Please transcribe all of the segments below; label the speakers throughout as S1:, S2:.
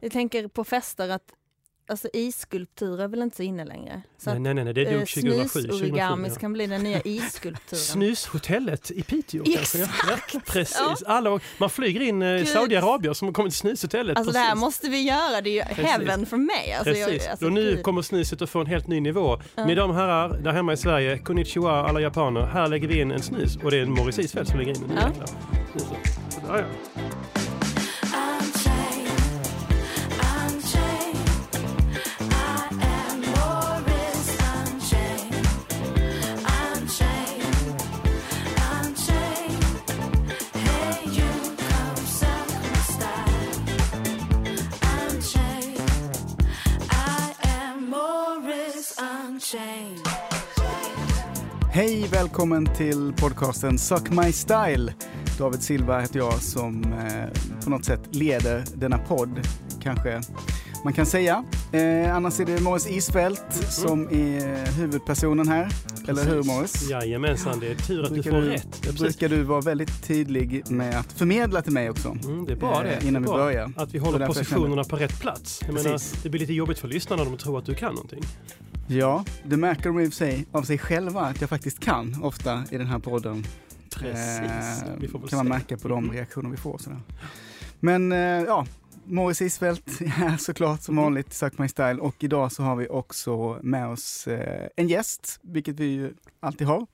S1: Jag tänker på fester att alltså, isskulpturer är väl inte så inne längre? Så
S2: nej, nej, nej, nej, det
S1: att, eh,
S2: dog 2007. 2007
S1: Snusorigamis
S2: ja.
S1: kan bli den nya isskulpturen.
S2: Snushotellet i Piteå kanske? ja. Ja, precis.
S1: Ja.
S2: Alla, man flyger in eh,
S1: Gud.
S2: saudiarabier som har kommit till snushotellet.
S1: Alltså det
S2: precis.
S1: här måste vi göra, det är ju heaven för mig. Alltså, jag-
S2: Precis,
S1: alltså,
S2: och nu
S1: gud.
S2: kommer snuset att få en helt ny nivå. Mina damer och herrar, där hemma i Sverige, konnichiwa alla japaner. Här lägger vi in en snus och det är en Morris Isfält som lägger in den.
S1: Ja.
S2: Ja. Ja, ja.
S3: Change.
S4: Hej, välkommen till podcasten Suck My Style. David Silva heter jag som eh, på något sätt leder denna podd, kanske man kan säga. Eh, annars är det Morris Isfält
S2: Mm-hmm.
S4: som är huvudpersonen här. Eller hur Morris?
S2: Jajamensan, det är tur att du
S4: Brukar
S2: får
S4: du-
S2: rätt. Ja, precis.
S4: Brukar du vara väldigt tydlig med att förmedla till mig också?
S2: Mm, det är bra
S4: Eh,
S2: det.
S4: innan
S2: det
S4: vi
S2: är bra
S4: börjar.
S2: Att vi
S4: Så
S2: håller
S4: därför jag
S2: positionerna på rätt plats. Jag menar,
S4: Precis.
S2: det blir lite jobbigt för lyssnarna om de tror att du kan någonting.
S4: Ja, det märker de i och för sig av sig själva att jag faktiskt kan ofta i den här podden.
S2: Precis.
S4: Eh,
S2: vi får väl
S4: kan man
S2: se.
S4: märka på de
S2: Mm.
S4: reaktioner vi får. och Sådär. Men eh, ja, Morris Isfält är såklart som vanligt Suck My Style och idag så har vi också med oss eh, en gäst, vilket vi ju alltid har.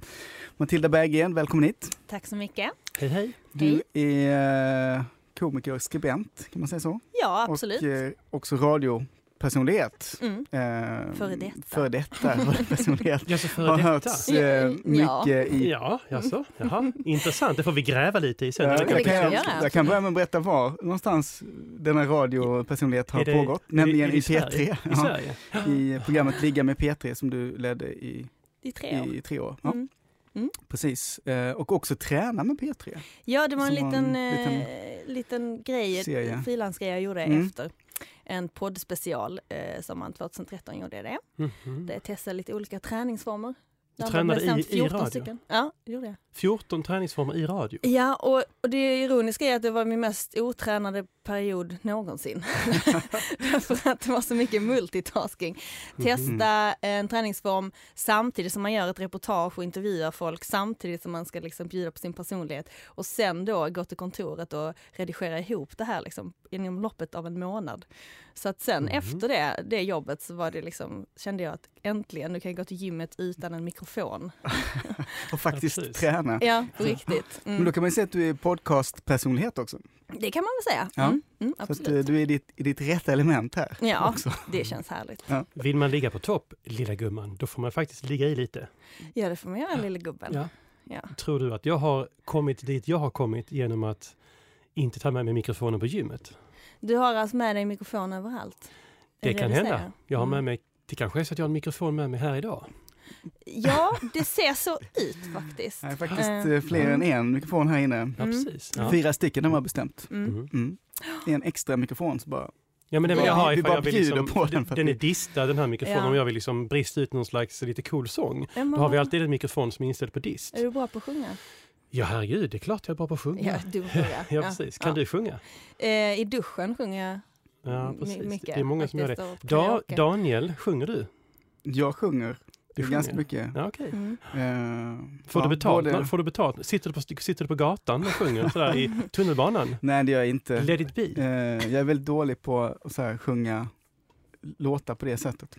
S4: Matilda Berggren, välkommen hit.
S1: Tack så mycket.
S2: Hej, hej.
S4: Du är eh, komiker och skribent, kan man säga så?
S1: Ja, absolut.
S4: Och eh, också radiopersonlighet.
S1: Mm.
S4: Eh,
S1: Före detta.
S4: Före detta radiopersonlighet.
S2: Ja, så före
S4: Har
S2: detta.
S4: hörts eh,
S1: Ja.
S4: mycket i
S2: Ja, jaså? Jaha. Intressant, det får vi gräva lite i sen.
S4: Ja,
S2: när vi
S1: det
S4: jag,
S2: kommer
S1: kan
S4: kan,
S2: till-
S1: vi
S4: jag,
S1: göra.
S4: jag kan börja med att berätta var någonstans denna radiopersonlighet har
S2: Är det-
S4: pågått,
S2: är det-
S4: nämligen
S2: är det
S4: i
S2: i Sverige?
S4: P3.
S2: I
S4: Ja,
S2: Sverige.
S4: I programmet Ligga med P3 som du ledde i,
S1: Det är tre år.
S4: i tre år. Ja,
S1: Mm. Mm.
S4: Precis, Eh, och också Träna med P3.
S1: Ja, det var en
S4: Som var
S1: liten,
S4: en liten-
S1: eh, liten grej,
S4: Serie.
S1: en frilansgrej jag gjorde
S4: Mm.
S1: efter en poddspecial eh, sommaren 2013 gjorde jag det.
S2: Mhm.
S1: Det testade lite olika träningsformer.
S2: Du
S1: Där
S2: tränade
S1: var det
S2: i- i
S1: bestämt
S2: radio?
S1: Stycken. Ja, det gjorde jag.
S2: 14 träningsformer i radio.
S1: Ja, och, och det ironiska är att det var min mest otränade period någonsin. Därför att det var så mycket multitasking. Testa en träningsform samtidigt som man gör ett reportage och intervjuar folk samtidigt som man ska liksom bjuda på sin personlighet och sen då gå till kontoret och redigera ihop det här liksom inom loppet av en månad. Så att sen
S4: Mm.
S1: efter det, det jobbet så var det liksom, kände jag att äntligen, nu kan jag gå till gymmet utan en mikrofon.
S4: Och faktiskt
S2: precis.
S4: träna.
S1: Ja, på riktigt. Mm.
S4: Men då kan man ju säga att du är podcastpersonlighet också.
S1: Det kan man väl säga.
S4: Ja.
S1: Mm, mm,
S4: Så att
S1: absolut.
S4: eh, du är i ditt, i ditt rätta element här.
S1: Ja,
S4: också.
S1: det känns härligt.
S2: Vill man ligga på topp, lilla gumman, då får man faktiskt ligga i lite.
S1: Ja, det får man göra, lille gubben.
S2: Ja.
S1: Ja.
S2: Tror du att jag har kommit dit jag har kommit genom att inte ta med mig mikrofonen på gymmet?
S1: Du har alltså med dig mikrofon överallt?
S2: Det
S1: Är
S2: kan
S1: du
S2: hända.
S1: säger?
S2: Jag har med
S1: Mm.
S2: mig, det kanske är så att jag har en mikrofon med mig här idag.
S1: Ja, det ser så ut faktiskt.
S4: Det är faktiskt
S1: Eh,
S4: eh, fler än en mikrofon här inne.
S2: Ja,
S1: Mm.
S2: precis. Ja.
S4: Fyra stycken har man bestämt.
S1: Mm.
S2: Mhm.
S4: Mm. Det är en extra mikrofon så bara
S2: Ja men den vill
S1: Vi-
S2: jag ha
S4: vi
S2: ifall
S4: bara
S2: jag vill
S4: bjuder
S2: liksom,
S4: på den
S2: den,
S4: för att
S2: den
S4: vi-
S2: är distad den här mikrofonen
S1: Ja.
S2: om jag vill liksom brista ut någon slags lite cool sång.
S1: Ja, men
S2: Då har vi
S1: vad-
S2: alltid en mikrofon som är inställd på dist.
S1: Är du bra på att sjunga?
S2: Ja herregud, det är klart jag är bra på att sjunga.
S1: Ja, du sjunger.
S2: Ja, precis. Kan du sjunga?
S1: Eh, I duschen sjunger jag
S2: Ja,
S1: my-
S2: precis.
S1: mycket.
S2: det är många som gör det.
S1: faktiskt, och
S2: Da,
S1: karaoke.
S2: Daniel, sjunger du?
S4: Jag sjunger
S2: Du
S4: ju ganska
S2: sjunger.
S4: mycket.
S2: Ja, okej.
S1: Mm.
S4: Eh,
S2: Får,
S4: ja,
S2: du betalt?
S4: både-
S2: Får du betalt? Sitter du på, sitter du på gatan och sjunger sådär i tunnelbanan?
S4: Nej, det gör jag inte.
S2: Let it be.
S4: Eh, jag är väldigt dålig på att så här, sjunga låtar på det sättet.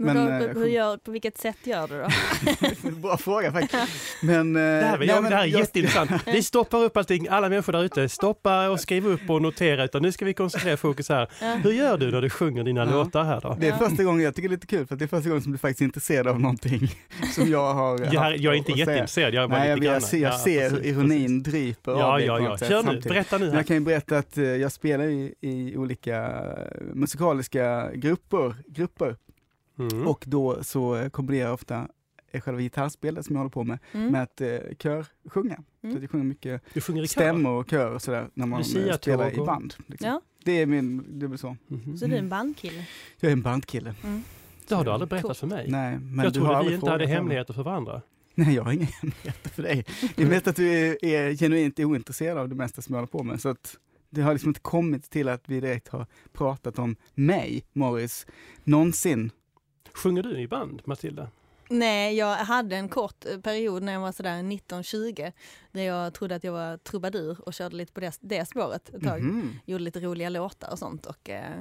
S1: Men,
S4: Men,
S1: då, hur
S4: eh, sjung-
S1: gör, på vilket sätt gör du då?
S4: Bra fråga faktiskt. Men, eh,
S2: Det här,
S4: nej,
S2: nej, jag,
S4: men
S2: det här är
S4: jag-
S2: jätteintressant. Vi stoppar upp allting, alla människor där ute. Stoppa och skriv upp och notera. Utan nu ska vi koncentrera fokus här.
S1: Ja.
S2: Hur gör du när du sjunger dina
S4: Ja.
S2: låtar här då?
S4: Det är
S1: Ja.
S4: första gången, jag tycker det är lite kul, för att det är första gången som du faktiskt är intresserad av någonting som jag har
S2: Jag, här,
S4: haft
S2: jag är
S4: att-
S2: inte
S4: att säga.
S2: jätteintresserad, jag är bara
S4: Nej, jag,
S2: lite
S4: jag, ser, jag
S2: Ja,
S4: ser hur
S2: precis,
S4: ironin dryper
S2: precis.
S4: av
S2: Ja,
S4: dig
S2: ja,
S4: på
S2: ja.
S4: något sätt
S2: Kör nu,
S4: samtidigt.
S2: berätta nu.
S4: Men Jag
S2: Här.
S4: kan ju berätta att eh, jag spelar i, i olika eh, musikaliska grupper, grupper.
S2: Mm.
S4: och då så eh, kombinerar jag ofta eh, själva gitarrspelet som jag håller på med
S1: Mm.
S4: med att eh, körsjunga.
S1: Mm.
S4: Så att jag sjunger mycket
S2: Du sjunger i kör.
S4: stämmor och kör och sådär när man eh,
S2: Lucia-tåg
S4: spelar i
S2: och-
S4: band. Liksom.
S1: Ja.
S4: Det är min, det är väl så.
S2: Mhm.
S1: Så du är en bandkille?
S4: Jag är en bandkille.
S2: Det har du aldrig berättat för mig.
S4: Nej, men
S2: jag
S4: du har
S2: trodde vi
S4: aldrig
S2: inte hade
S4: frågat om-
S2: hemligheter för varandra.
S4: Nej, jag har inga hemligheter för dig. Jag vet att du är, är genuint ointresserad av det mesta som jag håller på med. Så att Det har liksom inte kommit till att vi direkt har pratat om mig, Morris, någonsin.
S2: Sjunger du i band, Matilda?
S1: Nej, jag hade en kort eh, period när jag var sådär 19-20 där jag trodde att jag var trubadur och körde lite på det, det spåret ett tag.
S4: Mhm.
S1: Gjorde lite roliga låtar och sånt och eh,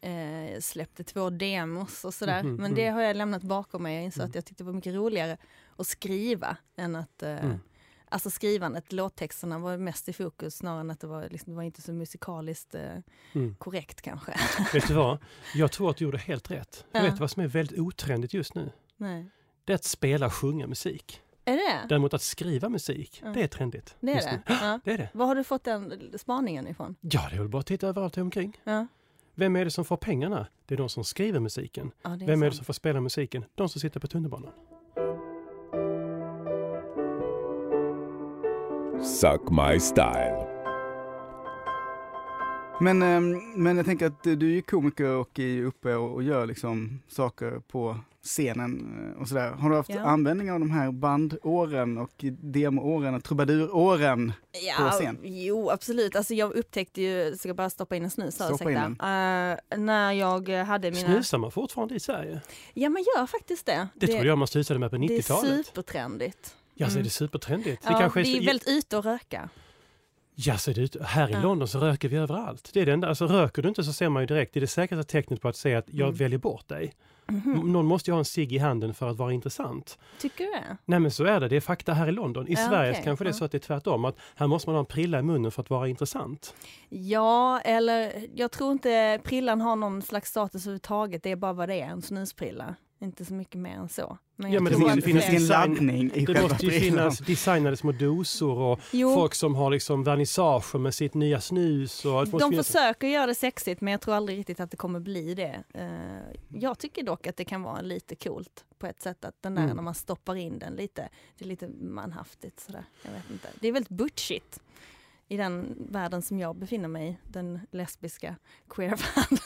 S1: eh, släppte två demos och sådär.
S2: Mhm,
S1: Men det
S2: mm.
S1: har jag lämnat bakom mig. Jag insåg
S2: Mm.
S1: att jag tyckte det var mycket roligare att skriva än att eh,
S2: Mm.
S1: Alltså skrivandet, låttexterna var mest i fokus snarare än att det var, liksom, det var inte så musikaliskt eh,
S2: Mm.
S1: korrekt kanske.
S2: Vet du vad? Jag tror att du gjorde helt rätt. Jag
S1: Ja.
S2: vet vad som är väldigt otrendigt just nu?
S1: Nej.
S2: Det är att spela och sjunga musik.
S1: Är det
S2: Däremot att skriva musik,
S1: Ja.
S2: det är trendigt.
S1: det? Är
S2: just
S1: det?
S2: nu.
S1: Ja.
S2: Det är det.
S1: Var har du fått den spaningen ifrån?
S2: Ja, det är väl bara att titta överallt omkring.
S1: Ja.
S2: Vem är det som får pengarna? Det är de som skriver musiken.
S1: Ja, det är
S2: Vem är det
S1: sant.
S2: som får spela musiken? De som sitter på tunnelbanan.
S3: Suck My Style.
S4: Men, ehm, men jag tänker att eh, du är ju komiker och är ju uppe och och gör liksom saker på scenen eh, och sådär. Har du haft
S1: Ja.
S4: användning av de här bandåren och demoåren och trubaduråren? på scen?
S1: Jo, absolut. Alltså, jag upptäckte ju, ska jag bara stoppa in en snus här,
S4: Stoppa in
S1: ursäkta. Eh, när jag hade mina...
S2: Snusar man fortfarande i Sverige?
S1: Ja, man gör faktiskt det.
S2: Det, trodde jag man snusade med på
S1: det är
S2: 90-talet.
S1: supertrendigt.
S2: Ja, så är
S1: Mm.
S2: det supertrendigt.
S1: Ja,
S2: det kanske är,
S1: vi är väldigt ute och röka.
S2: ja, så är det, ut- här i
S1: Ja.
S2: London så röker vi överallt. Det är det enda. Alltså, röker du inte så ser man ju direkt, det är det säkraste tecknet på att säga att jag
S1: Mm.
S2: väljer bort dig.
S1: Mhm.
S2: Någon måste ju ha en cigg i handen för att vara intressant.
S1: Tycker du det?
S2: Nej men så är det, det är fakta här i London. I
S1: Ja,
S2: Sverige
S1: okej.
S2: kanske det är
S1: Ja.
S2: så att det är tvärtom, att här måste man ha en prilla i munnen för att vara intressant.
S1: Ja, eller jag tror inte prillan har någon slags status överhuvudtaget. Det är bara vad det är, en snusprilla. Inte så mycket mer än så.
S2: Ja, men
S1: jag
S2: det
S1: tror
S2: måste ju
S1: att
S2: finnas
S1: fler-
S4: en
S2: design-
S4: laddning i
S2: Det
S4: själva
S2: måste ju
S4: prillan.
S2: finnas designade små dosor och
S1: Jo,
S2: folk som har liksom vernissager med sitt nya snus. Och, det måste
S1: De
S2: finnas-
S1: försöker göra det sexigt men jag tror aldrig riktigt att det kommer bli det. Eh, Jag tycker dock att det kan vara lite coolt på ett sätt att den där
S2: Mm.
S1: när man stoppar in den lite, det är lite manhaftigt sådär. Jag vet inte. Det är väldigt butchigt i den världen som jag befinner mig i, den lesbiska queer-världen.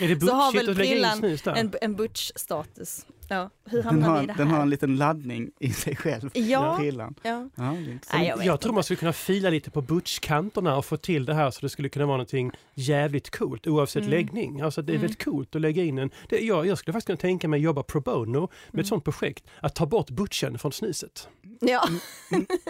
S2: Är det
S1: så har
S2: bullshit
S1: väl
S2: att lägga in
S1: prillan
S2: snus där?
S1: En, en butch-status. Ja, hur
S4: Den
S1: hamnar vi i
S4: har,
S1: det
S4: den har
S1: här?
S4: en liten laddning i sig själv,
S1: Ja,
S4: prillan.
S1: ja.
S4: Ja, det är intressant.
S1: Nej, jag
S2: jag
S1: vet
S2: tror man skulle kunna fila lite på butchkanterna och få till det här så det skulle kunna vara någonting jävligt coolt oavsett
S1: Mm.
S2: läggning. Alltså det är
S1: Mm.
S2: väldigt coolt att lägga in en... Det, jag, jag skulle faktiskt kunna tänka mig att jobba pro bono med
S1: Mm.
S2: ett sånt projekt. Att ta bort butchen från snuset.
S1: ja.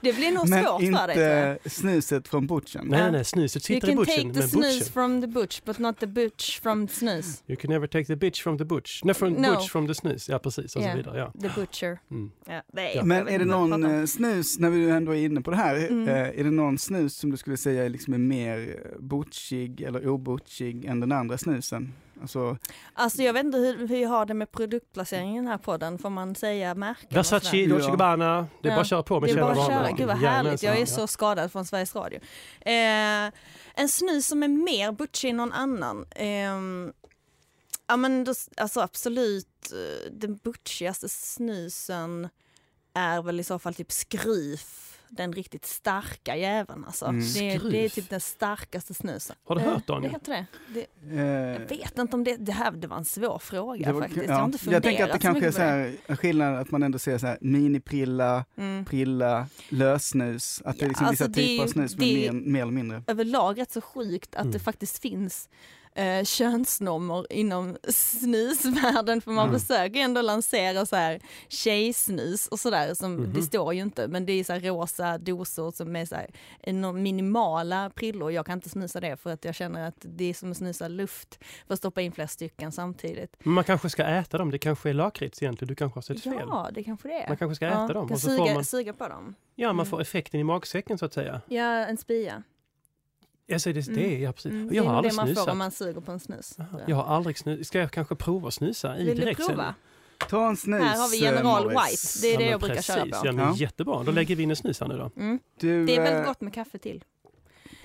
S1: det blir nog svårt
S4: Mm. Men
S1: för dig. tror jag.
S4: inte snuset från butchen.
S2: Nej,
S1: Ja.
S2: nej, nej, snuset
S1: You
S2: sitter i
S1: can
S2: butchen.
S1: take the
S2: Men
S1: snus
S2: butchen.
S1: from the butch but not the butch from snus.
S2: You can never take the bitch from the butch. Nej, from
S1: No.
S2: butch from the snus. Ja, precis. Och
S1: Yeah.
S2: så vidare. Ja.
S1: The butcher.
S2: Mm.
S1: Ja, nej,
S2: Ja. Mm.
S1: jag
S4: Men
S1: vet
S4: är det
S1: inte vad jag
S4: någon
S1: pratar om.
S4: eh, snus, när vi ändå är inne på det här,
S1: Mm.
S4: eh, är det någon snus som du skulle säga är liksom är mer eh, butchig eller obutchig än den andra snusen? Alltså,
S1: Alltså jag vet inte hur, hur jag har det med produktplaceringen i den här podden. Får man säga märken? och
S2: Versace,
S1: sådär?
S2: Dolce
S4: Ja.
S2: Gabbana. Det är
S1: Ja.
S2: bara att köra på med
S1: Det är
S2: kära
S1: bara att
S2: vanor.
S1: köra. Gud vad härligt.
S2: Jajamensan.
S1: Jag är
S2: Ja.
S1: så skadad från Sveriges Radio. Eh, en snus som är mer butchig än någon annan. Ehm, ja men då, alltså absolut eh, den butchigaste snusen är väl i så fall typ skryf. Den riktigt starka jäveln alltså.
S4: Mm.
S1: Det, är- det är
S2: Skryf.
S1: typ den starkaste snusen.
S2: Har du
S1: Eh,
S2: hört, Daniel?
S1: Det heter det. det
S4: eh,
S1: Jag vet inte om det, det här det var en svår fråga
S4: det var-
S1: faktiskt.
S4: ja.
S1: Jag har inte funderat
S4: jag tänker att det
S1: så
S4: kanske är
S1: mycket
S4: så
S1: på det.
S4: här, en skillnad att man ändå säger så här miniprilla,
S1: Mm.
S4: prilla, lössnus. Att det är
S1: Ja,
S4: liksom
S1: alltså
S4: vissa
S1: det är
S4: typer av
S1: ju-
S4: snus som
S1: det
S4: är
S1: är-
S4: mer, mer eller mindre.
S1: Överlag rätt så sjukt att
S2: Mm.
S1: det faktiskt finns eh, könsnormer inom snusvärlden för man
S2: Mm.
S1: försöker ändå lansera så här tjejsnus och sådär som
S2: Mhm.
S1: det står ju inte men det är så här rosa dosor som är så här enorm- minimala prillor. Jag kan inte snusa det för att jag känner att det är som att snusa luft för att stoppa in flera stycken samtidigt.
S2: Men man kanske ska äta dem. Det kanske är lakrits egentligen. Du kanske har sett fel.
S1: Ja, det kanske det är.
S2: Man kanske ska äta
S1: ja,
S2: dem.
S1: Kan
S2: Och så får
S1: suga,
S2: man,
S1: suga på dem.
S2: ja, man
S1: Mm.
S2: får effekten i magsäcken så att säga.
S1: Ja, en spia.
S2: Alltså, det, det, ja, precis.
S1: Mm, det
S2: Jag
S1: är
S2: har
S1: nog det
S2: aldrig
S1: man
S2: snusat.
S1: får om man suger på en snus.
S2: Aha,
S1: tror jag.
S2: Jag har aldrig snusat. Ska jag kanske prova att snusa i
S1: Vill du
S2: direktsändning?
S1: prova?
S4: Ta en snus,
S1: Här har vi
S4: eh,
S1: General
S4: Morris.
S1: White. Det är det
S2: men
S1: jag brukar
S2: precis.
S1: köra på.
S2: Ja, men
S4: Ja.
S2: Jättebra, då lägger vi in en snus här nu då.
S1: Mm.
S4: Du,
S1: Det är
S4: eh,
S1: väldigt gott med kaffe till.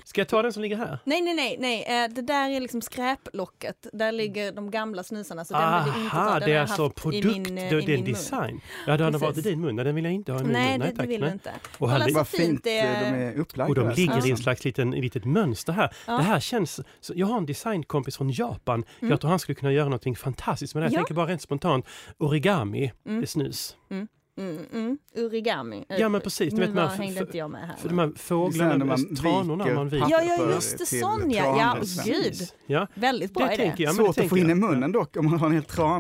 S2: Ska jag ta den som ligger här?
S1: Nej, nej, nej, nej. eh, det där är liksom skräplocket. Där ligger de gamla snusarna. Så den vill jag inte ta. Den
S2: Aha, det
S1: har
S2: är
S1: jag
S2: alltså
S1: haft i
S2: produkt,
S1: min, eh, i
S2: det, det är en
S1: min mun.
S2: design. Ja, det hade varit i
S1: Precis.
S2: din mun, nej, den vill jag inte ha i min
S1: Nej,
S2: mun.
S1: det, det vill du inte.
S2: Och,
S1: Kolla
S2: här,
S1: så
S2: lig-
S4: vad
S1: Alltså, fint
S4: fint
S1: det
S4: eh,
S1: är.
S4: de är upplagda. alltså.
S2: och de
S4: där,
S2: ligger i
S4: snusarna.
S2: ett slags litet, litet mönster här.
S1: Ja.
S2: Det här känns, så jag har en designkompis från Japan, jag tror han skulle kunna göra någonting fantastiskt men jag
S1: Mm. Ja.
S2: tänker bara rent spontant, origami, det är snus.
S1: Mm. Mm, mm. Origami.
S2: Ja, men precis. Du
S1: Nu
S2: vet, de
S1: var,
S2: här,
S1: hängde
S2: f-
S1: inte jag med här.
S2: f- de här fåglarna,
S4: Sen när man
S2: man tranorna
S4: viker
S2: man viker.
S4: papper.
S1: Ja, ja,
S4: papper
S1: just det.
S4: till
S1: Sån ja. ja.
S4: tranen, liksom.
S1: Gud,
S2: Ja,
S1: väldigt bra
S2: det
S1: är
S2: tänker
S1: det.
S2: jag. men det
S4: Svårt att få
S2: tänker
S4: in i
S2: jag.
S4: munnen dock om man har en hel trana.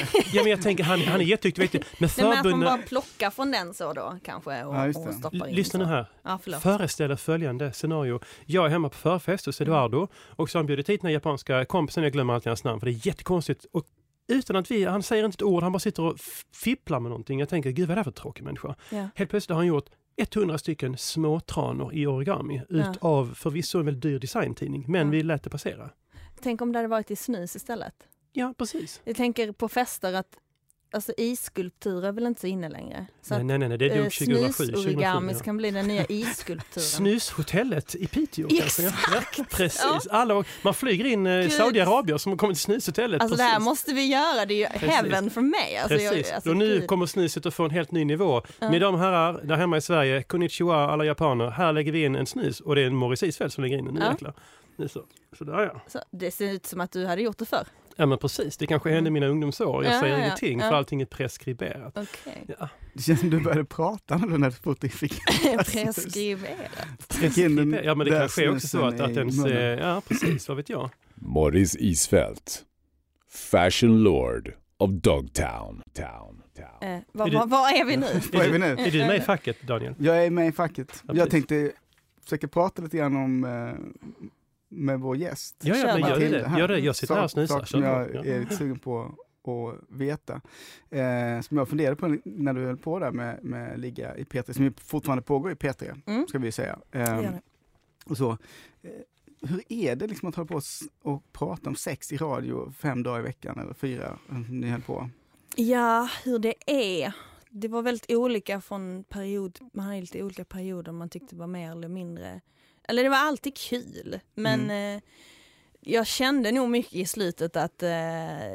S1: Ja,
S4: som
S1: det är
S2: Ja, men jag tänker, han, han är jätteduktig. Vet du, med
S1: Nej, men att man
S2: förbundna...
S1: bara plockar från den så då kanske och,
S4: Ja, just det.
S1: och stoppar in. så.
S2: Lyssna nu här.
S1: Ja, förlåt.
S2: Föreställ er följande scenario. Jag är hemma på förfest hos Eduardo och så har han bjudit hit den här japanska kompisen. Jag glömmer alltid hans namn för det är jättekonstigt. Och utan att vi, han säger inte ett ord, han bara sitter och f- fipplar med någonting. Jag tänker, gud vad är det här för tråkig människa?
S1: Ja.
S2: Helt plötsligt har han gjort 100 stycken små tranor i origami
S1: Ja.
S2: utav förvisso en väldigt dyr designtidning, men
S1: Ja.
S2: vi lät det passera.
S1: Tänk om det hade varit i snus istället.
S2: Ja, precis.
S1: Jag tänker på fester att alltså, isskulpturer är väl inte så inne längre. Så
S2: Nej,
S1: att
S2: nej, nej, nej, det
S1: eh,
S2: dog 2007. 2007
S1: snusorigamis
S2: ja.
S1: kan bli den nya isskulpturen.
S2: Snushotellet i Piteå kanske? ja. Ja, precis.
S1: Ja.
S2: Alla, åker- man flyger in eh,
S1: Gud.
S2: Saudiarabier som har kommit till snushotellet.
S1: Alltså det här måste vi göra, det är ju
S2: Precis.
S1: heaven för mig. Alltså, jag-
S2: Precis,
S1: alltså,
S2: och nu
S1: gud.
S2: kommer snuset att få en helt ny nivå.
S1: Ja.
S2: Mina damer och herrar, där hemma i Sverige, konnichiwa alla japaner, här lägger vi in en snus och det är en Morris Isfält som lägger in den. Nu
S1: Ja.
S2: jäklar. Nu Så. Så där, ja.
S1: så, det ser ut som att du hade gjort det förr.
S2: ja men precis, det kanske hände i mina ungdomsår. Jag
S1: Mm. Ja,
S2: säger
S1: ja, ja.
S2: ingenting
S1: Ja.
S2: för allting är preskriberat.
S1: Okej.
S2: Ja.
S4: Det känns som du började prata med den här foten fick
S1: Preskriberat.
S4: fick in den
S2: Ja men det
S4: där
S2: kanske är också så
S4: snusen
S2: att, att
S4: i
S2: ens,
S4: munnen.
S2: eh, ja precis, vad vet jag.
S3: Morris Isfält, fashion lord of Dogtown. Town, town.
S1: Eh,
S2: Är
S1: vad,
S2: du-
S1: vad, vad är vi nu?
S4: Vad är vi nu?
S2: Är du med i facket Daniel?
S4: Jag är med i facket.
S2: Ja,
S4: jag
S2: precis.
S4: tänkte försöka prata lite grann om eh, med vår gäst.
S2: Ja, ja
S1: Kör
S2: men gör
S4: Matilda
S2: det.
S4: här.
S2: Gör det. Jag sitter här och snusar.
S4: Sak som
S2: Kör
S4: jag
S2: på. Ja.
S4: är lite sugen på att veta. Eh, som jag funderade på när du höll på där med, med ligga i P3, som ju fortfarande pågår i P3,
S1: Mm.
S4: ska vi säga.
S1: Det gör
S4: Eh,
S1: det.
S4: och så. Eh, hur är det liksom att hålla på och s- och prata om sex i radio fem dagar i veckan eller fyra? eh, Ni höll på.
S1: Ja, hur det är. Det var väldigt olika från period. Man hade lite olika perioder man tyckte var mer eller mindre. Eller det var alltid kul. Men eh, jag kände nog mycket i slutet att eh,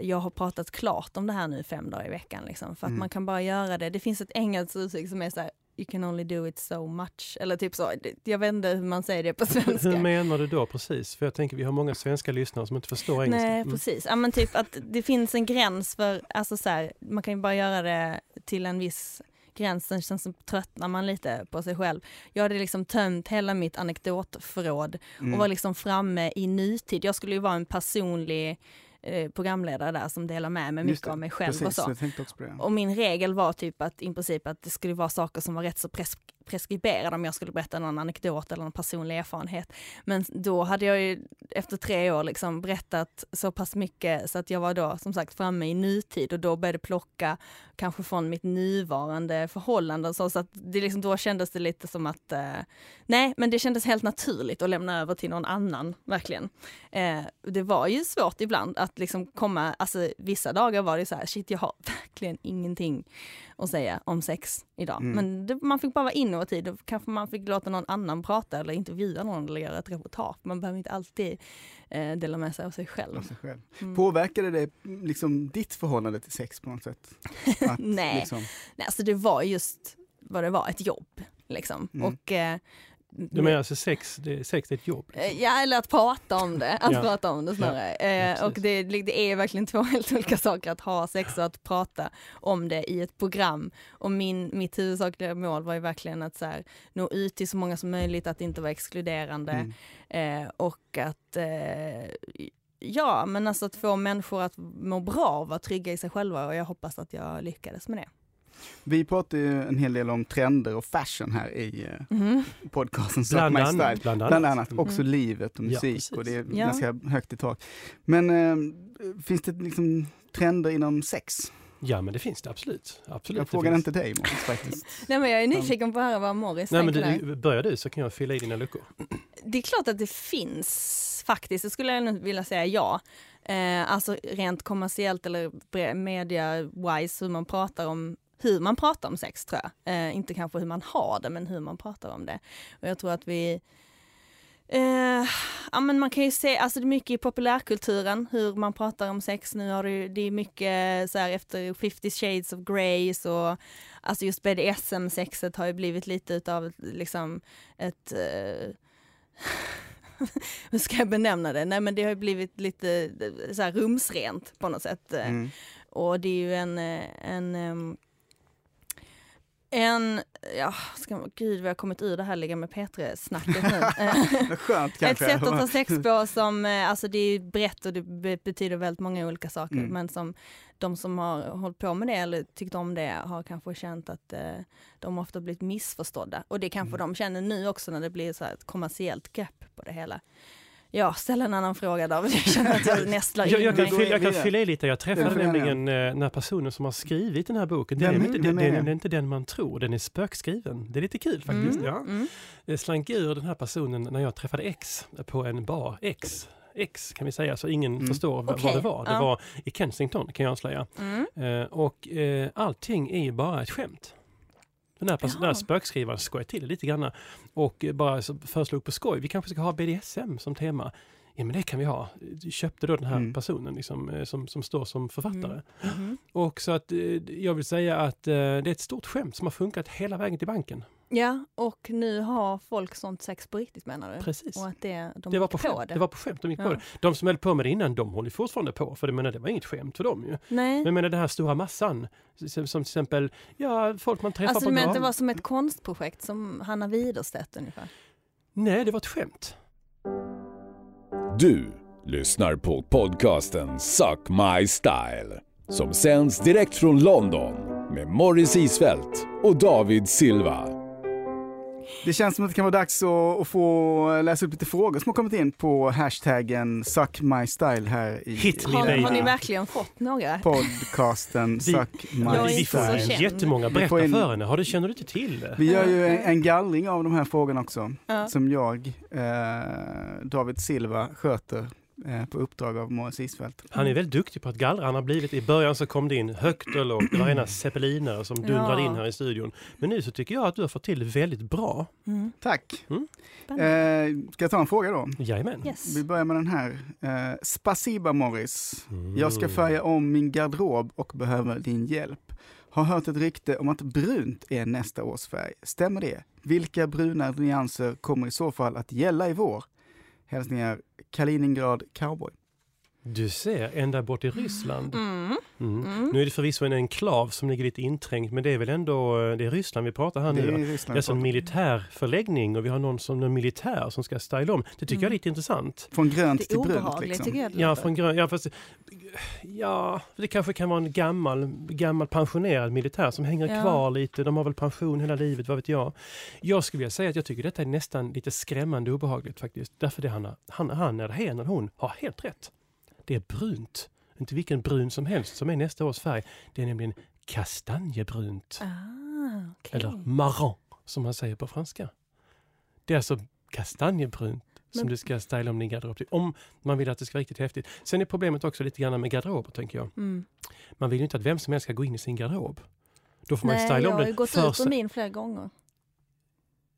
S1: jag har pratat klart om det här nu fem dagar i veckan. Liksom, för att
S4: Mm.
S1: man kan bara göra det. Det finns ett engelskt uttryck som är så här, you can only do it so much. Eller typ så. Jag vet inte hur man säger det på svenska.
S2: Hur menar du då precis? För jag tänker vi har många svenska lyssnare som inte förstår engelska.
S1: Nej,
S2: Mm.
S1: precis. Ja, men typ att det finns en gräns för, alltså så här, man kan ju bara göra det till en viss gräns, sen, sen så tröttnar man lite på sig själv. Jag hade liksom tömt hela mitt anekdotförråd
S4: Mm.
S1: och var liksom framme i nutid. Jag skulle ju vara en personlig eh, programledare där som delar med mig
S4: Just
S1: mycket
S4: det,
S1: av mig själv
S4: Precis,
S1: och så.
S4: jag tänkte också på det.
S1: Och min regel var typ att i princip att det skulle vara saker som var rätt så pres preskriberade om jag skulle berätta någon anekdot eller någon personlig erfarenhet. Men då hade jag ju efter tre år liksom berättat så pass mycket så att jag var då som sagt framme i nutid och då började plocka kanske från mitt nuvarande förhållande och så, så att det liksom, då kändes det lite som att eh, nej, men det kändes helt naturligt att lämna över till någon annan verkligen. Eh, det var ju svårt ibland att liksom komma, alltså vissa dagar var det så här, shit jag har verkligen ingenting att säga om sex idag.
S4: Mm.
S1: Men det, man fick bara vara innovativ, då kanske man fick låta någon annan prata eller intervjua någon eller göra ett reportage. Man behöver inte alltid eh, dela med sig av sig
S4: Av
S1: själv.
S4: sig själv.
S1: Mm.
S4: Påverkade det liksom ditt förhållande till sex på något sätt? Att
S1: Nej.
S4: Liksom,
S1: Nej, alltså det var just vad det var, ett jobb liksom.
S4: Mm.
S1: Och, eh,
S2: Du menar alltså sex, det, sex är ett jobb?
S1: Eh, Ja, eller att prata om det. Att
S2: Ja.
S1: prata om det snarare. Eh,
S2: precis.
S1: och det, det är verkligen två helt olika saker att ha sex och att prata om det i ett program. Och min, mitt huvudsakliga mål var ju verkligen att så här, nå ut till så många som möjligt, att inte vara exkluderande.
S4: mm.
S1: Eh, och att, eh, ja men alltså att få människor att må bra och vara trygga i sig själva. Och jag hoppas att jag lyckades med det.
S4: Vi pratar ju en hel del om trender och fashion här i eh,
S1: Mhm.
S4: podcasten Suck
S2: Bland
S4: My Style.
S2: annat. Bland annat.
S4: Bland annat också
S1: Mm.
S4: livet och
S2: Ja,
S4: musik
S2: precis.
S4: och det är
S1: Ja.
S4: ganska högt i tak. Men eh, finns det liksom trender inom sex?
S2: Mm. Ja, men det finns det absolut. absolut.
S4: Jag
S2: det
S4: frågar
S2: finns.
S4: inte dig Måns faktiskt.
S1: Nej men jag är nyfiken på att höra vad Morris
S2: Nej, men
S1: tänker där.
S2: du, börjar du så kan jag fylla i dina luckor.
S1: det är klart att det finns faktiskt, det skulle jag nog vilja säga ja. Eh, alltså rent kommersiellt eller bre- media-wise hur man pratar om hur man pratar om sex tror jag. Eh, inte kanske hur man har det men hur man pratar om det. Och jag tror att vi eh, ja, men man kan ju se, alltså det är mycket i populärkulturen hur man pratar om sex nu. Har det, ju- det är mycket eh, så här efter 50 shades of Grey och alltså just BDSM-sexet har ju blivit lite utav ett, liksom ett eh, hur ska jag benämna det? Nej men det har ju blivit lite eh, så här rumsrent på något sätt. eh,
S4: Mm.
S1: Och det är ju en, eh, en ehm, En, ja, ska man, gud vi har kommit ur det här ligga med P3-snacket nu. Eh,
S4: Det är Skönt
S1: Ett
S4: kanske.
S1: sätt att ta sex på som, eh, alltså det är ju brett och det be- betyder väldigt många olika saker,
S4: Mm.
S1: men som de som har hållit på med det eller tyckt om det har kanske känt att eh, de ofta blivit missförstådda. Och det
S2: Mm.
S1: kanske de känner nu också när det blir så här ett kommersiellt grepp på det hela. Ja, ställ en annan fråga David, jag känner att jag nästlar in
S2: Jag, jag, kan,
S1: mig.
S4: gå in
S2: fylla, jag kan
S4: vidare.
S2: fylla i lite. Jag
S4: Ja,
S2: träffade
S4: får gärna.
S2: nämligen eh, den här personen som har skrivit den här boken. Det
S4: Vem
S2: är,
S4: är-
S2: inte, det,
S4: vem är
S2: det,
S4: det?
S2: är inte den man tror, den är spökskriven. Det är lite kul faktiskt.
S1: Mm,
S2: Ja.
S1: mm.
S2: Jag Eh, slank ur den här personen när jag träffade X eh, på en bar. X, X kan vi säga, så ingen
S4: Mm.
S2: förstår v-
S1: Okej,
S2: vad det var. Det
S1: ja.
S2: var i Kensington kan jag avslöja.
S1: Mm.
S2: Eh, och eh, allting är ju bara ett skämt. Den här, pers- den här
S1: Jaha.
S2: spökskrivaren skojade till det lite grann och eh, bara så föreslog på skoj, vi kanske ska ha BDSM som tema. Ja men det kan vi ha. Köpte då den här
S4: Mm.
S2: personen liksom, eh, som, som står som författare.
S1: Mm. Mhm.
S2: Och så att eh, jag vill säga att eh, det är ett stort skämt som har funkat hela vägen till banken.
S1: Ja, och nu har folk sånt sex på riktigt menar du?
S2: Precis.
S1: Eh, Och att det, de
S2: Det var,
S1: gick
S2: på skämt.
S1: det?
S2: det var på skämt, de gick på
S1: Ja.
S2: det. De som höll på med det innan, de håller fortfarande på, för det, menar, det var inget skämt för dem ju.
S1: Nej.
S2: Men jag menar den här stora massan, som, som till exempel, ja, folk man träffar
S1: Alltså
S2: på
S1: du menar att det
S2: galan.
S1: var som ett konstprojekt som Hanna Widerstedt ungefär?
S2: Nej, det var ett skämt.
S3: Du lyssnar på podcasten Suck My Style som sänds direkt från London med Morris Isfält och David Silva.
S4: Det känns som att det kan vara dags att, att få läsa upp lite frågor som har kommit in på hashtaggen suckmystyle här i
S2: Hit me,
S1: Har,
S2: baby.
S1: har ni verkligen fått några?
S4: podcasten Suck My
S1: Jag är
S2: vi
S1: inte så
S4: Style.
S2: får
S1: känd.
S2: jättemånga
S4: Vi får
S2: berätta
S4: in-
S2: för henne. Har du, känner du inte till det?
S4: Vi gör ju en, en gallring av de här frågorna också,
S1: Ja.
S4: som jag, eh, David Silva, sköter eh, på uppdrag av Morris Isfält.
S2: Han är väldigt duktig på att gallra. Han har blivit, I början så kom det in högt och lågt. Det var rena zeppelinare som dundrade
S1: Ja.
S2: in här i studion. Men nu så tycker jag att du har fått till det väldigt bra.
S1: Mm.
S4: Tack!
S2: Mm.
S4: Eh, ska jag ta en fråga då?
S2: Jajamän.
S1: Yes.
S4: Eh, Vi börjar med den här. Eh, Spasiba Morris.
S2: Mm.
S4: Jag ska färga om min garderob och behöver din hjälp. Har hört ett rykte om att brunt är nästa års färg. Stämmer det? Vilka bruna nyanser kommer i så fall att gälla i vår? Hälsningar Kaliningrad Cowboy.
S2: Mm. Du ser, ända bort i Ryssland.
S1: Mm.
S2: Mm.
S1: Mm.
S2: Nu är det förvisso en enklav som ligger lite inträngt, men det är väl ändå eh, det är Ryssland vi pratar här
S4: Det
S2: nu.
S4: är
S2: va?
S4: i
S2: Det
S4: Ryssland.
S2: är alltså en militärförläggning och vi har någon som en militär som ska styla om. Det tycker jag är
S1: Mm.
S2: lite intressant.
S4: Från grönt
S1: Det är
S4: till brunt.
S1: obehagligt
S4: Liksom.
S1: tycker jag. det
S2: Ja,
S1: låter.
S2: från grön, ja, fast, ja, det kanske kan vara en gammal, gammal pensionerad militär som hänger
S1: Ja.
S2: kvar lite. De har väl pension hela livet, vad vet jag. Jag skulle vilja säga att jag tycker detta är nästan lite skrämmande obehagligt faktiskt. Därför det han, han, han eller hen eller hon har helt rätt. Det är brunt. Inte vilken brun som helst som är nästa års färg. Det är nämligen kastanjebrunt.
S1: Ah, okej.
S2: Eller marron, som man säger på franska. Det är alltså kastanjebrunt som
S1: Men-
S2: du ska styla om din garderob till. Om man vill att det ska vara riktigt häftigt. Sen är problemet också lite grann med garderober, tänker jag.
S1: Mm.
S2: Man vill ju inte att vem som helst ska gå in i sin garderob. Då får man ju
S1: Nej,
S2: styla
S1: jag
S2: om
S1: har
S2: den
S1: ju gått
S2: för
S1: ut ur
S2: sig.
S1: min flera gånger.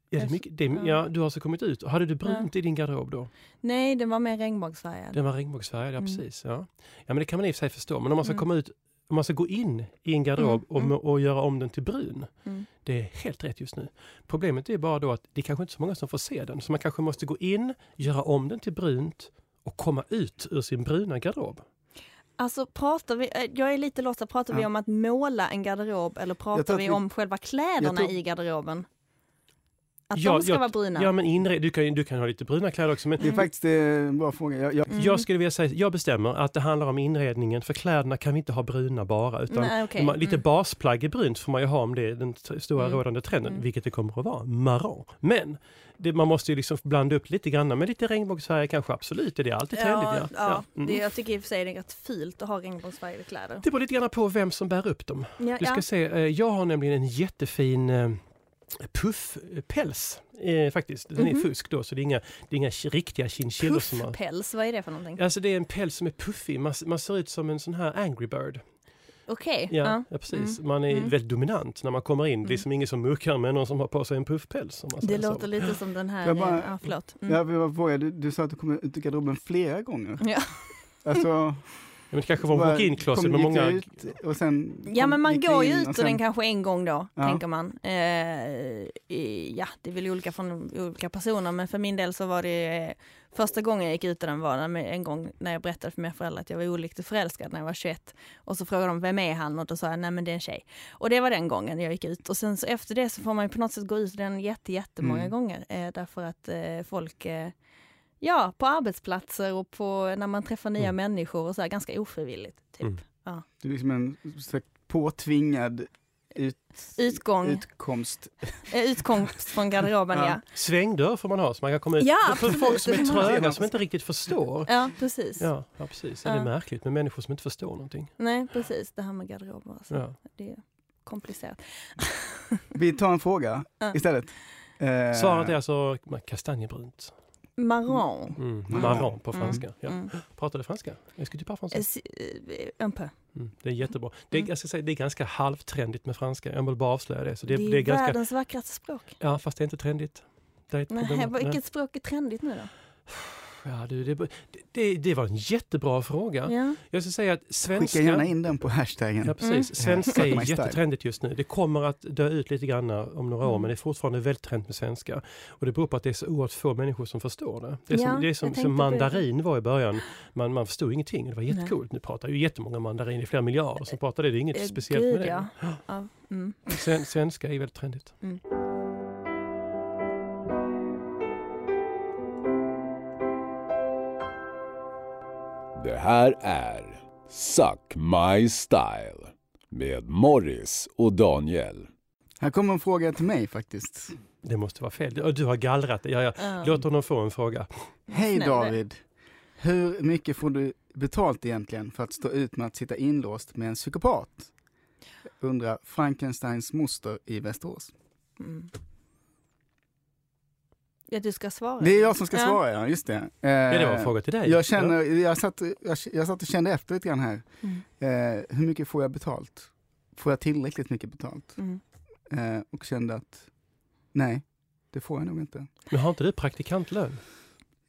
S2: Ja, det är mycket, det är,
S1: Ja.
S2: ja, du har alltså kommit ut. Hade du brunt i din garderob då?
S1: Nej, den var mer regnbågsfärgad.
S2: Den var regnbågsfärgad, ja
S1: Mm.
S2: precis. Ja. ja, men det kan man i och för sig förstå. Men om man ska
S1: Mm.
S2: komma ut, om man ska gå in i en garderob
S1: Mm, mm.
S2: Och, och göra om den till brun.
S1: Mm.
S2: Det är helt rätt just nu. Problemet är bara då att det är kanske inte så många som får se den. Så man kanske måste gå in, göra om den till brunt och komma ut ur sin bruna garderob.
S1: Alltså pratar vi, eh, jag är lite lost, här. pratar vi
S4: Ja.
S1: om att måla en garderob eller
S4: Jag tror
S1: pratar
S4: att
S1: vi
S4: vi-
S1: om själva kläderna
S4: tror-
S1: i garderoben? Att
S2: Ja,
S1: de ska
S2: jag-
S1: vara bruna?
S2: Ja, men inre, du, kan, ju- du kan ha lite bruna kläder också. Men
S1: Mm.
S4: Det är faktiskt eh, en bra fråga. Jag, jag,
S2: jag skulle vilja säga, jag bestämmer att det handlar om inredningen. För kläderna kan vi inte ha bruna bara. Utan
S1: Nej, okej.
S2: man- Lite
S1: Mm.
S2: basplagg i brunt får man ju ha om det är den t- stora
S1: Mm.
S2: rådande trenden,
S1: Mm.
S2: vilket det kommer att vara, marron. Men det, man måste ju liksom blanda upp lite grann med lite regnbågsfärger kanske, absolut, det är alltid trendigt. Ja,
S1: Ja, ja.
S2: Mm.
S1: Det, jag tycker i och för sig det är rätt fult att ha regnbågsfärgade kläder.
S2: Det beror lite grann på vem som bär upp dem.
S1: Ja,
S2: Du ska
S1: ja.
S2: se, eh, jag har nämligen en jättefin eh, puffpäls eh, faktiskt. Den är
S1: Mhm.
S2: fusk då, så det är inga, det är inga riktiga chinchillor som har...
S1: Puffpäls, vad är det för någonting?
S2: Alltså det är en päls som är puffig, man, man ser ut som en sån här angry bird.
S1: Okej.
S2: Ja,
S1: ja.
S2: ja. precis. Man är
S1: Mm.
S2: väldigt dominant när man kommer in. Det är
S1: Mm.
S2: liksom ingen som muckar med någon som har på sig en puffpäls. Om man
S1: Det
S2: säger
S1: låter
S2: så.
S1: lite som den här...
S4: Jag bara-
S1: eh, ja, förlåt. Mm.
S4: jag vill bara fråga, du, du sa att du kom ut ur garderoben flera gånger.
S1: Ja.
S4: Alltså,
S2: Ja, men det kanske var en
S4: bara-
S2: walk-in closet
S4: kom-
S2: med
S4: gick
S2: många...
S4: du ut och sen,
S1: Ja
S4: kom-
S1: men man
S4: gick
S1: går
S4: in
S1: ju
S4: och
S1: ut ur
S4: sen-
S1: den kanske en gång då,
S4: Ja.
S1: tänker man. Eh, i- ja, det är väl olika från olika personer men för min del så var det eh, Första gången jag gick ut ur den var när- en gång när jag berättade för mina föräldrar att jag var olyckligt förälskad när jag var 21. Och så frågade de vem är han och då sa jag nej men det är en tjej. Och det var den gången jag gick ut. Och sen så efter det så får man ju på något sätt gå ut den jätte, jättemånga
S4: Mm.
S1: gånger. Eh, därför att eh, folk eh, Ja, på arbetsplatser och på, när man träffar nya
S2: Mm.
S1: människor och så här, ganska ofrivilligt. Typ.
S2: Mm.
S4: Du är liksom en slags påtvingad ut,
S1: Utgång,
S4: utkomst.
S1: eh, utkomst från garderoben
S4: Ja.
S1: ja.
S2: Svängdörr får man ha så man kan komma ut.
S1: Ja,
S2: för
S1: absolut.
S2: folk som är
S1: Det får man
S2: tröga
S4: ha.
S2: som inte riktigt förstår.
S1: Ja, precis.
S2: Ja, ja precis. Det
S1: Ja.
S2: är märkligt med människor som inte förstår någonting.
S1: Nej, precis. Det här med garderober. Alltså.
S2: Ja.
S1: Det är komplicerat.
S4: Vi tar en fråga
S1: Ja.
S4: istället. Eh,
S2: Svaret är alltså kastanjebrunt.
S1: Marron.
S2: Mm.
S4: Mm.
S2: Marron på
S1: Mm.
S2: franska. Ja.
S1: Mm.
S2: Pratar du franska? Jag skulle typ franska.
S1: Eh, si- eh, Un peu.
S2: Mm. Det är jättebra. Det är,
S1: Mm.
S2: jag ska säga, det är ganska halvtrendigt med franska. Jag vill bara avslöja det. Så
S1: Det
S2: det,
S1: är,
S2: det är, ganska,
S1: världens vackraste språk.
S2: ja, fast det är inte trendigt. Det är ett problem.
S1: Nej, vad-
S2: Nej.
S1: vilket språk är trendigt nu då?
S2: Ja, du, det, det, det var en jättebra fråga.
S1: Ja.
S2: Jag ska säga att svenska...
S4: Skicka gärna in den på hashtaggen.
S2: Ja,
S1: Mm.
S2: precis. Svenska
S4: Suck my
S2: är
S4: style.
S2: jättetrendigt just nu. Det kommer att dö ut lite grann om några år,
S1: Mm.
S2: men det är fortfarande väldigt trendigt med svenska. Och det beror på att det är så oerhört få människor som förstår det. Det är som,
S1: Ja,
S2: det är
S1: jag
S2: som,
S1: tänkte
S2: som
S1: på det.
S2: mandarin var i början. Man, man förstod ingenting. Det var
S1: Nej.
S2: jättecoolt. Nu pratar ju jättemånga mandarin. Det är flera miljarder som pratar det. Det är inget
S1: Eh,
S2: speciellt
S1: gud,
S2: med det.
S1: ja. ja. Mm.
S2: Sen, svenska är väldigt trendigt.
S1: Mm.
S3: Det här är Suck My Style med Morris och Daniel.
S4: Här kommer en fråga till mig faktiskt.
S2: Det måste vara fel. Du, du har gallrat det. Ja, ja.
S1: Ja.
S2: Låt honom få en fråga.
S4: Hej
S1: Snäll.
S4: David! Hur mycket får du betalt egentligen för att stå ut med att sitta inlåst med en psykopat? Undrar Frankensteins moster i Västerås.
S1: Mm. Ja, du ska svara.
S4: Det är jag som ska
S1: Ja.
S4: svara, ja. Just det. Eh,
S2: Ja, det var en fråga till dig.
S4: Jag, känner, jag, satt, jag, jag satt och kände efter lite grann här.
S1: Mm.
S4: Eh, hur mycket får jag betalt? Får jag tillräckligt mycket betalt?
S1: Mm.
S4: Eh, och kände att nej, det får jag nog inte.
S2: Ja. Men har inte du praktikantlön?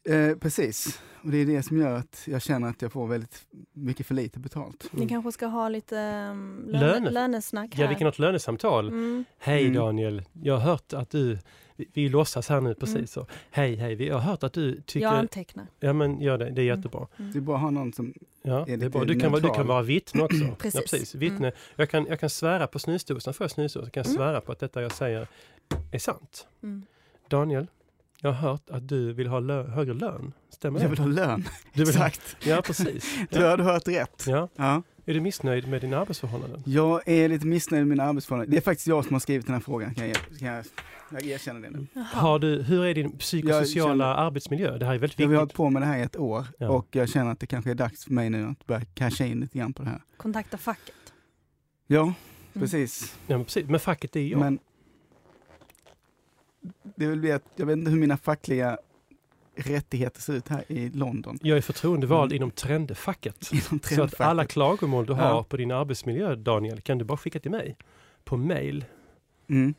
S4: Eh, precis, och det är det som gör att jag känner att jag får väldigt mycket för lite betalt.
S1: Ni kanske ska ha lite um, löne,
S2: Löne.
S1: lönesnack här.
S2: Mm. Ja, vi kan ha ett lönesamtal.
S1: mm.
S2: Hej
S4: Mm.
S2: Daniel, jag har hört att du, vi, vi låtsas här nu precis
S1: Mm.
S2: så. Hej hej, vi- jag har hört att du tycker,
S1: Jag
S2: ja,
S1: antecknar.
S2: men gör det, det är
S1: Mm.
S2: jättebra.
S4: Det är bara att ha någon som
S2: Ja, det
S4: lite
S2: är bra. Du, kan, vara- du
S4: neutral. Mm.
S2: kan vara vittne också.
S1: Precis.
S2: Ja, precis. Vittne. Jag, kan, jag kan svära på snusdosan, får jag snusdosan kan jag
S1: Mm.
S2: svära på att detta jag säger är sant.
S1: Mm.
S2: Daniel, jag har hört att du vill ha lö, högre lön, stämmer
S4: Jag
S2: det?
S4: vill ha lön.
S2: Du vill ha-
S4: Exakt.
S2: Ja, precis.
S4: Du hade hört rätt.
S2: Ja.
S4: Ja.
S2: Är du missnöjd med dina arbetsförhållanden?
S4: Jag är lite missnöjd med mina arbetsförhållanden. Det är faktiskt jag som har skrivit den här frågan. Kan jag, kan jag, jag erkänner det
S2: Mm.
S4: nu.
S2: Har du, hur är din psykosociala
S4: känner-
S2: arbetsmiljö? Det här är väldigt
S4: Jag har
S2: viktigt.
S4: hållit på med det här i ett år
S2: Ja.
S4: och jag känner att det kanske är dags för mig nu att börja casha in lite grann på det här.
S1: Kontakta facket. Mm.
S4: Ja, precis.
S2: Ja, men, precis. men facket är jag.
S4: Men det vill bli att jag vet inte hur mina fackliga rättigheter ser ut här i London.
S2: Jag är förtroendevald
S4: Mm.
S2: inom trendfacket.
S4: Inom
S2: Så att alla klagomål du
S4: Ja.
S2: har på din arbetsmiljö, Daniel, kan du bara skicka till mig på mail.
S4: mm.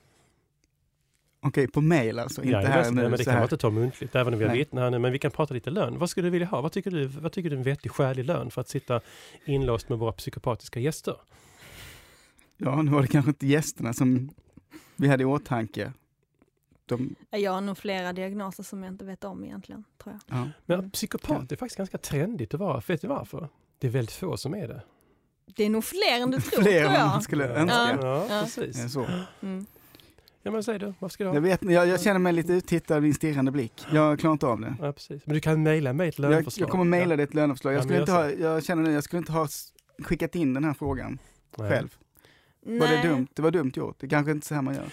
S4: Okej, på mail alltså, inte
S2: Jajamensan,
S4: här nu.
S2: nej, men det
S4: så
S2: kan man
S4: här.
S2: inte ta muntligt, även om vi har
S4: Nej.
S2: vittnen här nu. Men vi kan prata lite lön. Vad skulle du vilja ha? Vad tycker du, vad tycker du är en vettig, skälig lön för att sitta inlåst med våra psykopatiska gäster?
S4: Ja, nu var det kanske inte gästerna som vi hade i åtanke. De,
S1: Jag har nog flera diagnoser som jag inte vet om egentligen, tror jag.
S4: ja.
S2: Men
S1: Mm.
S2: psykopat är faktiskt ganska trendigt att vara. Vet du varför? Det är väldigt få som är det.
S1: Det är nog fler än du tror,
S4: Fler
S1: tror
S4: än man
S1: jag.
S4: skulle
S2: ja.
S4: önska.
S2: Ja,
S1: Ja.
S4: Ja.
S2: precis.
S4: Så.
S1: Mm.
S2: Ja, men säg du. Vad ska du
S4: Jag,
S2: ha?
S4: vet, jag, jag känner mig lite uttittad av din stirrande blick. Jag klarar inte av det.
S2: Ja, precis. Men du kan mejla mig ett
S4: Jag,
S2: löneförslag.
S4: jag kommer mejla dig ett löneförslag.
S2: Ja,
S4: Jag,
S2: men
S4: skulle
S2: gör
S4: inte
S2: så.
S4: ha, jag känner nu, jag skulle inte ha s- skickat in den här frågan
S2: Nej.
S4: själv.
S1: Nej,
S4: Var det dumt? Det var dumt gjort. Det kanske inte är så här man gör.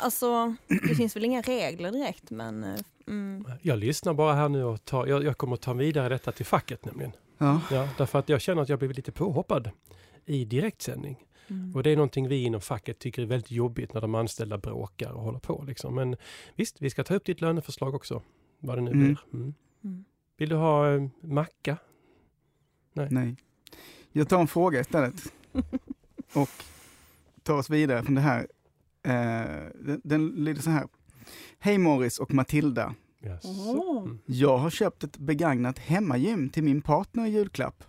S1: alltså det finns väl inga regler direkt, men eh, mm,
S2: Jag lyssnar bara här nu och tar, jag, jag kommer att ta vidare detta till facket nämligen.
S4: Ja.
S2: Ja, därför att jag känner att jag blivit lite påhoppad i direktsändning.
S1: mm.
S2: Och det är någonting vi inom facket tycker är väldigt jobbigt när de anställda bråkar och håller på. Liksom. Men visst, vi ska ta upp ditt löneförslag också. Vad det nu
S4: Mm.
S2: blir. Mm.
S1: Mm.
S2: Vill du ha eh, macka?
S4: Nej. Jag tar en fråga istället. Och tar oss vidare från det här. Eh, den, den lyder så här. Hej Morris och Matilda.
S2: Yes.
S1: Åh.
S2: Mm.
S4: Jag har köpt ett begagnat hemmagym till min partner i julklapp.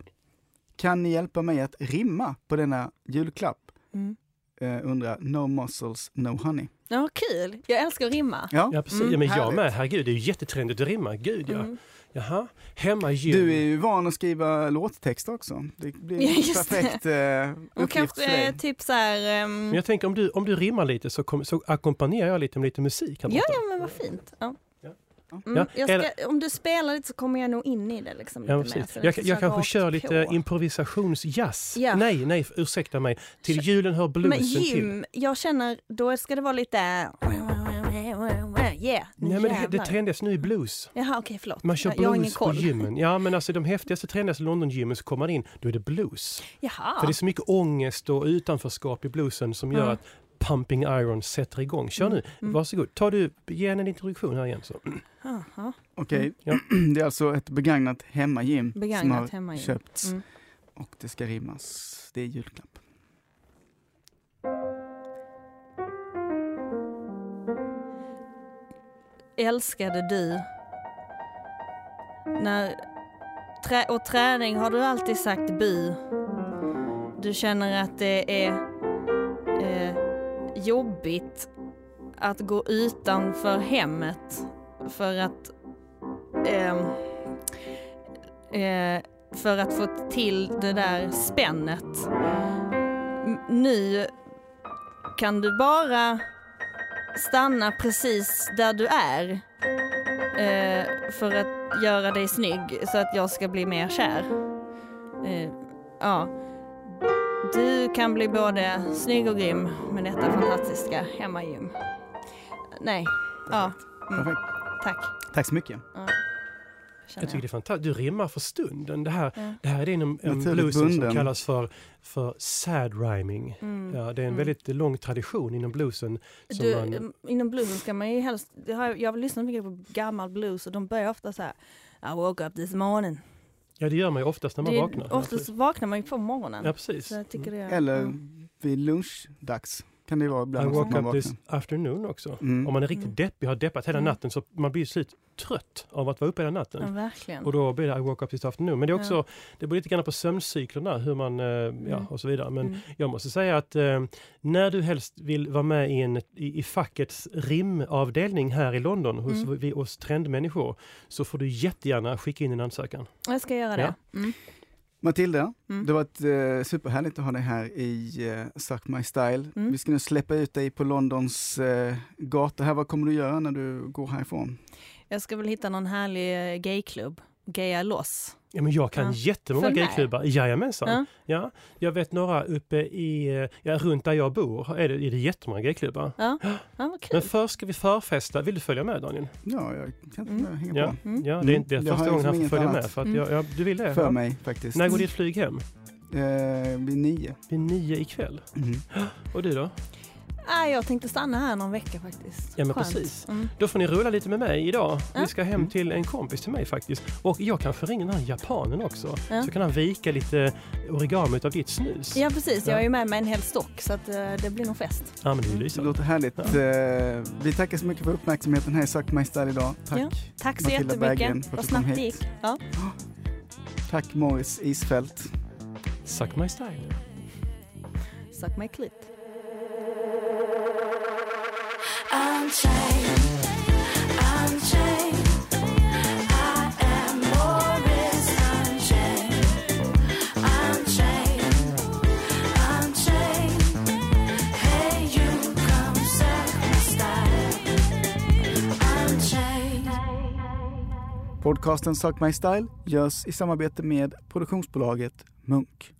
S4: Kan ni hjälpa mig att rimma på denna julklapp?
S1: Mm.
S4: eh, undrar No muscles, no honey.
S1: Ja, kul. Jag älskar att rimma.
S4: Ja.
S2: Ja, precis.
S1: Mm,
S2: ja, men jag
S4: härligt.
S2: med. Herregud, det är ju jättetrendigt att rimma. Gud ja.
S1: Mm.
S2: Jaha. Hemma gym.
S4: Du är ju van att skriva låttexter också. Det blir
S1: Ja,
S4: en
S1: just det.
S4: perfekt eh,
S1: Och
S4: uppgift för
S1: kanske eh,
S4: dig.
S1: typ så här... ehm,
S2: Men jag tänker om du, om du rimmar lite så, kom, så ackompanjerar jag lite med lite musik här
S1: Ja,
S2: borta.
S1: ja, men vad fint. Ja.
S2: Ja.
S1: Mm,
S2: Ja,
S1: jag ska, om du spelar lite så kommer jag nog in i det. Liksom, lite
S2: Ja,
S1: mer,
S2: precis.
S1: så det
S2: Jag,
S1: är
S2: jag
S1: så här
S2: kanske kör
S1: rakt
S2: lite
S1: på.
S2: improvisationsjazz.
S1: Ja.
S2: Nej, nej, ursäkta mig. Till
S1: Kör-
S2: julen hör bluesen
S1: Men
S2: till.
S1: gym, jag känner, då ska det vara lite... Yeah, nu
S2: Nej, men det, det
S1: jävlar.
S2: trendigaste nu är blues.
S1: Jaha, okej, förlåt.
S2: Man kör
S1: jag, jag har ingen
S2: blues på
S1: koll.
S2: gymmen. Ja, men alltså de häftigaste trendigaste London-gymmen som kommer in, då är det blues.
S1: Jaha.
S2: För det är så mycket ångest och utanförskap i bluesen som gör
S1: Mm.
S2: att Pumping Iron sätter igång. Kör nu, varsågod. Ta du, ge henne en introduktion här igen. Så.
S1: Jaha.
S4: Okej,
S2: Mm, Ja.
S4: det är alltså ett begagnat hemmagym som
S1: Begagnat
S4: har
S1: hemma ju.
S4: köpts
S1: Mm.
S4: och det ska rimmas. Det är julklapp.
S1: Älskade du när... Trä, och träning har du alltid sagt bu. Du känner att det är eh, jobbigt att gå utanför hemmet för att ehm, eh, för att få till det där spännet. M- Nu kan du bara stanna precis där du är eh, för att göra dig snygg så att jag ska bli mer kär. Eh, ja. Du kan bli både snygg och grym med detta fantastiska hemmagym. Nej, ja, Mm.
S4: Perfekt.
S1: tack.
S4: Tack så mycket.
S1: känner
S2: Jag tycker det är fantastiskt. Du rimmar för stunden. Det här,
S1: Ja.
S2: det här är en, en
S4: Naturligt
S2: blues som
S4: bunden.
S2: kallas för, för sad rhyming.
S1: Mm.
S2: Ja, det är en
S1: Mm.
S2: väldigt lång tradition inom bluesen. Som
S1: Du, ehm,
S2: man,
S1: em, Inom bluesen ska man ju helst, det har jag jag har lyssnat mycket på gammal blues och de börjar ofta så här I woke up this morning.
S2: ja, det gör man ju oftast när man
S1: Det är-
S2: vaknar. Ja,
S1: Oftast
S2: precis.
S1: vaknar man ju på morgonen.
S2: Ja, precis.
S1: Så jag tycker det är,
S4: Eller
S1: mm.
S4: vid lunchdags kan det vara
S2: I
S4: ibland också att
S2: woke
S4: man
S2: up this
S4: vaknar.
S2: afternoon också.
S4: Mm.
S2: Om man är riktigt
S1: Mm.
S2: deppig, har deppat hela
S1: Mm.
S2: natten, så man blir ju slut trött av att vara uppe hela natten.
S1: ja, verkligen.
S2: Och då blir det I woke up this afternoon. Men det är också,
S1: Ja.
S2: det beror lite grann på sömncyklerna, hur man, eh, ja
S1: Mm.
S2: och så vidare. Men
S1: Mm.
S2: jag måste säga att eh, när du helst vill vara med i, en, i, i fackets rimavdelning här i London hos
S1: Mm.
S2: vi, oss trendmänniskor så får du jättegärna skicka in en ansökan.
S1: Jag ska göra det. Mm.
S4: Matilda,
S1: Mm.
S4: det har varit eh, superhärligt att ha dig här i eh, Suck My Style.
S1: Mm.
S4: Vi ska nu släppa ut dig på Londons eh, gator här. Vad kommer du göra när du går härifrån?
S1: Jag ska väl hitta någon härlig eh, gayklubb, gaya loss.
S2: Ja, men jag kan
S1: Ja.
S2: jättemånga
S1: Följ med.
S2: gayklubbar. Jajamensan.
S1: Ja.
S2: Ja, jag vet några uppe i, eh, ja, runt där jag bor är det, är det jättemånga gayklubbar.
S1: Ja, ja vad kul.
S2: Men först ska vi förfesta. Vill du följa med Daniel?
S4: Ja, jag kan inte
S1: Mm.
S4: hänga
S2: Ja,
S4: på.
S1: Mm.
S2: ja det är inte det är
S4: Mm. Jag
S2: första
S4: har
S2: gången han får
S4: liksom
S2: följa
S4: inget
S2: med.
S4: annat.
S2: För att
S1: Mm.
S2: jag, jag, du vill det?
S4: För
S2: ja.
S4: mig faktiskt.
S2: När går ditt flyg hem?
S4: Eh, vid nio.
S2: Vid nio ikväll.
S4: Mm.
S2: Och du då?
S1: Ah, jag tänkte stanna här någon vecka faktiskt.
S2: Ja, men
S1: Skönt.
S2: precis.
S1: Mm.
S2: Då får ni rulla lite med mig idag. Vi
S1: Ja.
S2: ska hem till en kompis till mig faktiskt. Och jag kanske ringer den här japanen också.
S1: Ja.
S2: Så kan han vika lite origami av ditt snus.
S1: Ja precis, jag
S2: Ja.
S1: har ju med mig en hel stock så att eh, det blir nog fest.
S2: Ja, men det är ju
S4: Det
S2: lysande.
S4: låter härligt.
S2: Ja.
S4: Eh, vi tackar så mycket för uppmärksamheten här i Suck My Style idag. Tack.
S1: Ja. Tack så
S4: Matilda Berggren,
S1: jättemycket.
S4: för att
S1: Vad
S4: du kom
S1: snabbt det
S4: hit.
S1: gick. Ja.
S4: Tack Morris Isfält.
S2: Suck my style.
S1: Suck my clit.
S5: Unchained, unchained. I am Morris Unchained. Unchained, unchained. Hey, you come suck my style. Unchained.
S4: Podcasten Suck My Style görs i samarbete med produktionsbolaget Munk.